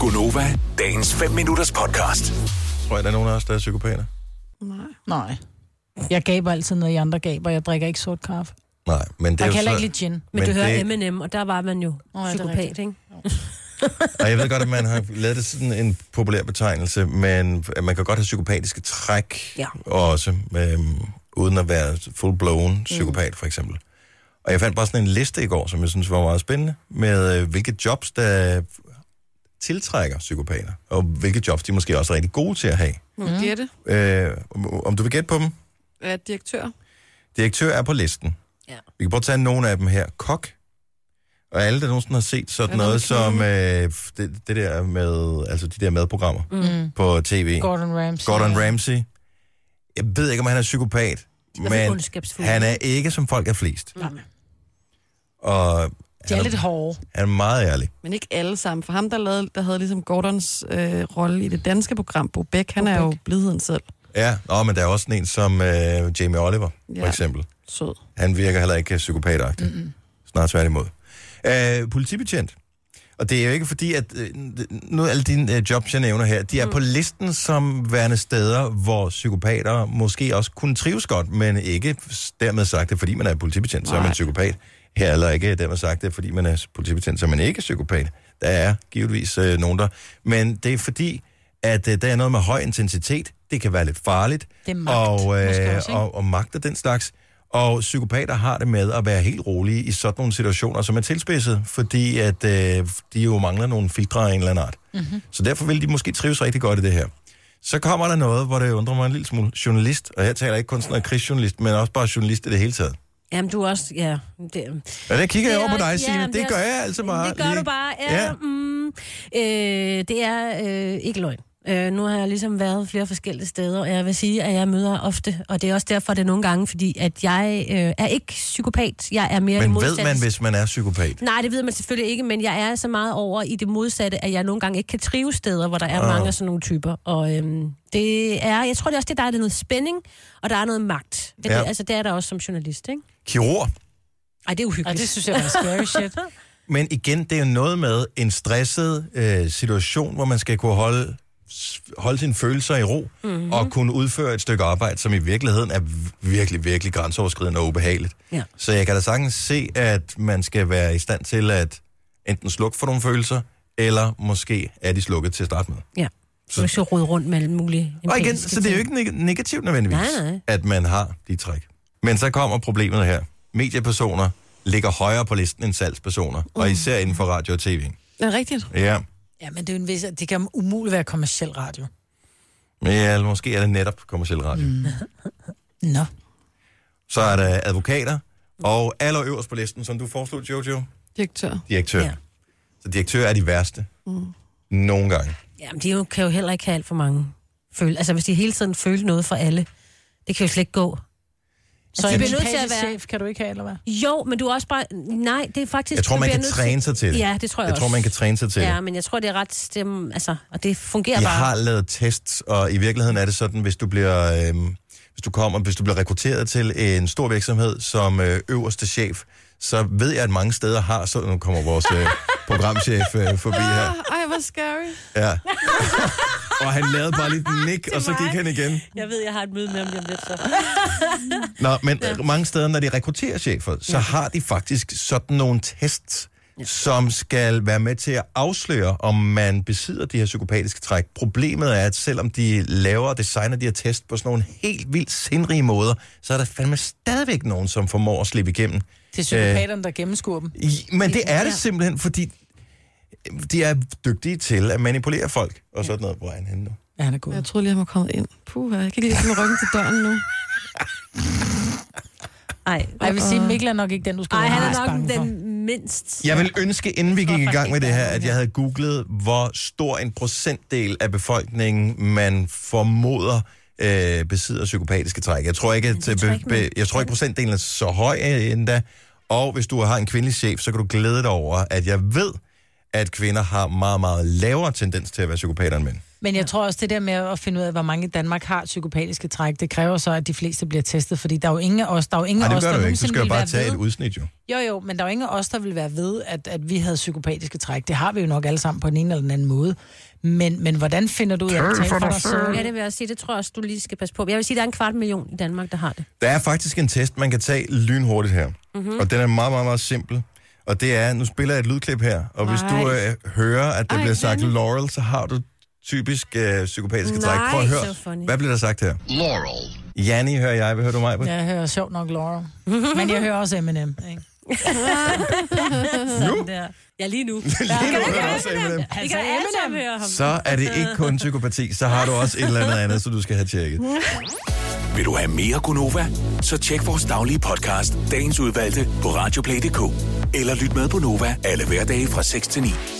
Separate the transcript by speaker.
Speaker 1: Gunova, dagens 5 minutters podcast.
Speaker 2: Tror jeg, der er nogen af os, der er psykopater?
Speaker 3: Nej.
Speaker 4: Nej. Jeg gaber altid noget, I andre gaber. Jeg drikker ikke sort kaffe.
Speaker 2: Nej, men det er
Speaker 4: Jeg
Speaker 2: jo
Speaker 4: kan heller
Speaker 2: så...
Speaker 4: ikke lide gin.
Speaker 3: Men,
Speaker 2: Men
Speaker 3: du hører
Speaker 2: det-
Speaker 3: M&M, og der var man jo
Speaker 4: er det
Speaker 3: psykopat,
Speaker 4: rigtigt?
Speaker 3: ikke?
Speaker 2: Og jeg ved godt, at man har lavet det sådan en populær betegnelse, men man kan godt have psykopatiske træk
Speaker 3: Ja.
Speaker 2: også, øhm, uden at være full-blown psykopat,
Speaker 3: Mm.
Speaker 2: for eksempel. Og jeg fandt bare sådan en liste i går, som jeg synes var meget spændende, med øh, hvilke jobs, der tiltrækker psykopater, og hvilke jobs de måske også er rigtig gode til at have.
Speaker 5: Må mm. gætte?
Speaker 2: Øh, om- om du vil gætte på dem?
Speaker 5: Er direktør?
Speaker 2: Direktør er på listen.
Speaker 3: Ja.
Speaker 2: Vi kan prøve at tage nogle af dem her. Kok. Og alle, der nogensinde har set sådan
Speaker 5: Er der
Speaker 2: noget
Speaker 5: noget
Speaker 2: som øh, det, det der med, altså de der madprogrammer
Speaker 4: Mm.
Speaker 2: på tv.
Speaker 4: Gordon Ramsay.
Speaker 2: Gordon Ramsay. Jeg ved ikke, om han er psykopat,
Speaker 3: hvert fald
Speaker 2: men
Speaker 3: ondskabsfuld.
Speaker 2: han er ikke, som folk er flest.
Speaker 4: Nej.
Speaker 2: Og
Speaker 4: De
Speaker 2: han
Speaker 4: er
Speaker 2: er,
Speaker 4: lidt hårde.
Speaker 2: han er meget ærlig.
Speaker 5: Men ikke alle sammen. For ham, der, lavede, der havde ligesom Gordons øh, rolle i det danske program, Bo Bæk, han er jo blidheden selv.
Speaker 2: Ja, Nå, men der er også sådan en som øh, Jamie Oliver, ja. for
Speaker 5: Ja.
Speaker 2: eksempel.
Speaker 5: Sød.
Speaker 2: Han virker heller ikke psykopatagtig. Mm-hmm. Snart tværtimod. Øh, politibetjent. Og det er jo ikke fordi, at øh, nu alle dine øh, jobs, jeg nævner her, de er mm. på listen som værende steder, hvor psykopater måske også kunne trives godt, men ikke s- dermed sagt det, fordi man er politibetjent, så er man
Speaker 5: Nej.
Speaker 2: psykopat. Her eller ikke dermed sagt det, fordi man er politibetjent, så er man ikke psykopat. Der er givetvis øh, nogen der. Men det er fordi, at øh, der er noget med høj intensitet. Det kan være lidt farligt.
Speaker 4: Det er magt,
Speaker 2: og,
Speaker 4: måske
Speaker 2: øh,
Speaker 4: også, ikke?
Speaker 2: og, og magt og den slags. Og psykopater har det med at være helt rolige i sådan nogle situationer, som er tilspidset, fordi at, øh, de jo mangler nogle filtre af en eller anden art. Mm-hmm. Så derfor vil de måske trives rigtig godt i det her. Så kommer der noget, hvor det undrer mig en lille smule. Journalist, og her taler jeg ikke kun sådan noget krigsjournalist, men også bare journalist i det hele taget.
Speaker 3: Jamen, du er også... Ja, det,
Speaker 2: Og der kigger jeg
Speaker 3: Det
Speaker 2: over
Speaker 3: er
Speaker 2: på dig,
Speaker 3: også-
Speaker 2: Signe.
Speaker 3: men
Speaker 2: det,
Speaker 3: er
Speaker 2: gør
Speaker 3: også-
Speaker 2: jeg altså bare.
Speaker 3: Det gør
Speaker 2: lige.
Speaker 3: du bare, ja.
Speaker 2: Ja.
Speaker 3: ja. Mm, øh, det er øh, ikke løgn. Øh, nu har jeg ligesom været flere forskellige steder, og jeg vil sige, at jeg møder ofte, og det er også derfor, det er nogle gange, fordi at jeg øh, er ikke psykopat, jeg er mere det
Speaker 2: Men ved
Speaker 3: modsatte.
Speaker 2: man, hvis man er psykopat?
Speaker 3: Nej, det ved man selvfølgelig ikke, men jeg er så meget over i det modsatte, at jeg nogle gange ikke kan trive steder, hvor der
Speaker 2: Ah.
Speaker 3: er mange af sådan nogle typer. Og øhm, det er, jeg tror det er også, det der er noget spænding, og der er noget magt. Det,
Speaker 2: Ja.
Speaker 3: ja. Altså, det er der også som journalist, ikke?
Speaker 2: Kirurg.
Speaker 3: Ej, det er uhyggeligt.
Speaker 4: Og det synes jeg er scary shit.
Speaker 2: Men igen, det er jo noget med en stresset øh, situation, hvor man skal kunne holde, s- holde sine følelser i ro, mm-hmm. og kunne udføre et stykke arbejde, som i virkeligheden er v- virkelig, virkelig grænseoverskridende og ubehageligt.
Speaker 3: Ja.
Speaker 2: Så jeg kan da sagtens se, at man skal være i stand til at enten slukke for nogle følelser, eller måske er de slukket til at starte med.
Speaker 3: Ja.
Speaker 2: Så-
Speaker 3: Så du skal rode rundt med alle mulige...
Speaker 2: Og igen,
Speaker 3: empiriske
Speaker 2: så det er jo
Speaker 3: ting.
Speaker 2: ikke neg- negativt nødvendigvis,
Speaker 3: Nej, nej.
Speaker 2: at man har de træk. Men så kommer problemet her. Mediepersoner ligger højere på listen end salgspersoner, mm. og især inden for radio og tv.
Speaker 5: Er det rigtigt?
Speaker 2: Ja.
Speaker 4: Ja, men det, er jo en vis, det kan umuligt være kommersiel radio.
Speaker 2: Ja, eller måske er det netop kommersiel radio. Mm.
Speaker 4: Nå.
Speaker 2: Så er der advokater, og allerøverst på listen, som du foreslog, Jojo,
Speaker 5: Direktør.
Speaker 2: direktør. Ja.
Speaker 3: Ja.
Speaker 2: Så direktør er de værste. Mm. Nogle gange.
Speaker 3: Jamen, de jo, kan jo heller ikke have alt for mange føle. Altså, hvis de hele tiden føler noget for alle, det kan jo slet ikke gå.
Speaker 4: Så
Speaker 2: Altså,
Speaker 3: Du
Speaker 4: en
Speaker 3: bliver nødt til at
Speaker 4: sympatisk
Speaker 3: være-
Speaker 4: chef kan du ikke have, eller hvad?
Speaker 3: Jo, men du er også bare... Nej, det er faktisk...
Speaker 2: Jeg tror,
Speaker 3: du
Speaker 2: man
Speaker 3: bliver
Speaker 2: kan
Speaker 3: nødt
Speaker 2: træne sig til det.
Speaker 3: Ja, det tror jeg,
Speaker 2: Jeg
Speaker 3: også.
Speaker 2: tror, man kan træne sig til det.
Speaker 3: Ja, men jeg tror, det er ret... Stem, altså, og det fungerer
Speaker 2: Jeg
Speaker 3: bare.
Speaker 2: har lavet tests, og i virkeligheden er det sådan, hvis du bliver, øhm, hvis du kommer, hvis du bliver rekrutteret til en stor virksomhed som øh, øverste chef, så ved jeg, at mange steder har, så nu kommer vores øh, programchef øh, forbi her.
Speaker 5: Ah, ej, hvor scary.
Speaker 2: Ja. og han lavede bare lidt nik, og så gik han igen.
Speaker 3: Jeg ved, jeg har et møde med ham lige om lidt, så...
Speaker 2: Nå, men ja. mange steder, når de rekrutterer chefer, så ja. har de faktisk sådan nogle tests, ja. som skal være med til at afsløre, om man besidder de her psykopatiske træk. Problemet er, at selvom de laver og designer de her test på sådan nogle helt vildt sindrige måder, så er der fandme stadigvæk nogen, som formår at slippe igennem.
Speaker 4: Det er
Speaker 2: Øh.
Speaker 4: psykopaterne, der gennemskuer dem.
Speaker 2: I, men det er det
Speaker 4: Ja.
Speaker 2: simpelthen, fordi øh, de er dygtige til at manipulere folk. Og sådan noget. Hvor er han henne nu?
Speaker 4: Ja, han er god.
Speaker 5: Jeg troede lige, han var kommet ind. Puh, jeg kan ikke lige få med ryggen til døren nu.
Speaker 3: Ej,
Speaker 4: Ej, jeg vil sige, Mikkel er nok ikke den, du skal
Speaker 3: Øh. Ej,
Speaker 4: være
Speaker 3: han
Speaker 4: mest
Speaker 3: er
Speaker 4: bange
Speaker 3: nok
Speaker 4: for.
Speaker 3: den mindst...
Speaker 2: Jeg vil ønske, inden vi gik i gang med det her, at jeg havde googlet, hvor stor en procentdel af befolkningen, man formoder øh, besidder psykopatiske træk. Jeg tror ikke, at, øh,
Speaker 3: det tror jeg
Speaker 2: be,
Speaker 3: ikke, man
Speaker 2: be, jeg tror ikke procentdelen er så høj øh, endda. Og hvis du har en kvindelig chef, så kan du glæde dig over, at jeg ved, at kvinder har meget, meget lavere tendens til at være psykopater end mænd.
Speaker 4: Men jeg tror også, det der med at finde ud af, hvor mange i Danmark har psykopatiske træk, det kræver så, at de fleste bliver testet, fordi der er jo ingen af os, der er jo ingen
Speaker 2: Nej,
Speaker 4: af
Speaker 2: det
Speaker 4: os,
Speaker 2: gør
Speaker 4: der
Speaker 2: du ikke. Du
Speaker 4: nogensinde
Speaker 2: skal jo
Speaker 4: ville
Speaker 2: bare
Speaker 4: være
Speaker 2: tage
Speaker 4: ved-
Speaker 2: et udsnit, jo.
Speaker 4: Jo, jo, men der er jo ingen af os, der vil være ved, at, at vi havde psykopatiske træk. Det har vi jo nok alle sammen på den ene eller den anden måde. Men, men hvordan finder du ud af at betale for dig selv?
Speaker 3: Ja, det vil jeg også sige. Det tror jeg også, du lige skal passe på. Jeg vil sige, at der er en kvart million i Danmark, der har det.
Speaker 2: Der er faktisk en test, man kan tage lynhurtigt her.
Speaker 3: Mhm.
Speaker 2: Mm-hmm. Og den er meget, meget, meget simpel. Og det er, nu spiller jeg et lydklip her, og hvis du
Speaker 5: Nej.
Speaker 2: øh, hører, at der
Speaker 5: Ej,
Speaker 2: bliver sagt
Speaker 5: Dennis.
Speaker 2: Laurel, så har du typisk øh, psykopatiske træk.
Speaker 3: Nej,
Speaker 2: Prøv at
Speaker 3: så
Speaker 2: høre,
Speaker 3: funny.
Speaker 2: hvad bliver der sagt her?
Speaker 6: Laurel.
Speaker 2: Janni hører jeg, hvad hører du mig? Ja.
Speaker 4: Jeg hører sjovt nok Laura. Men jeg hører også Eminem. Ikke?
Speaker 3: Sådan der. Ja, lige nu.
Speaker 2: Lige nu hører du også Eminem.
Speaker 4: Altså,
Speaker 3: Vi kan da alle sammen høre ham.
Speaker 2: Så er det ikke kun psykopati, så har du også et eller andet andet, så du skal have tjekket.
Speaker 1: Vil du have mere Gunova? Så tjek vores daglige podcast, dagens udvalgte, på radioplay.dk. Eller lyt med på Nova alle hverdage fra 6 til 9.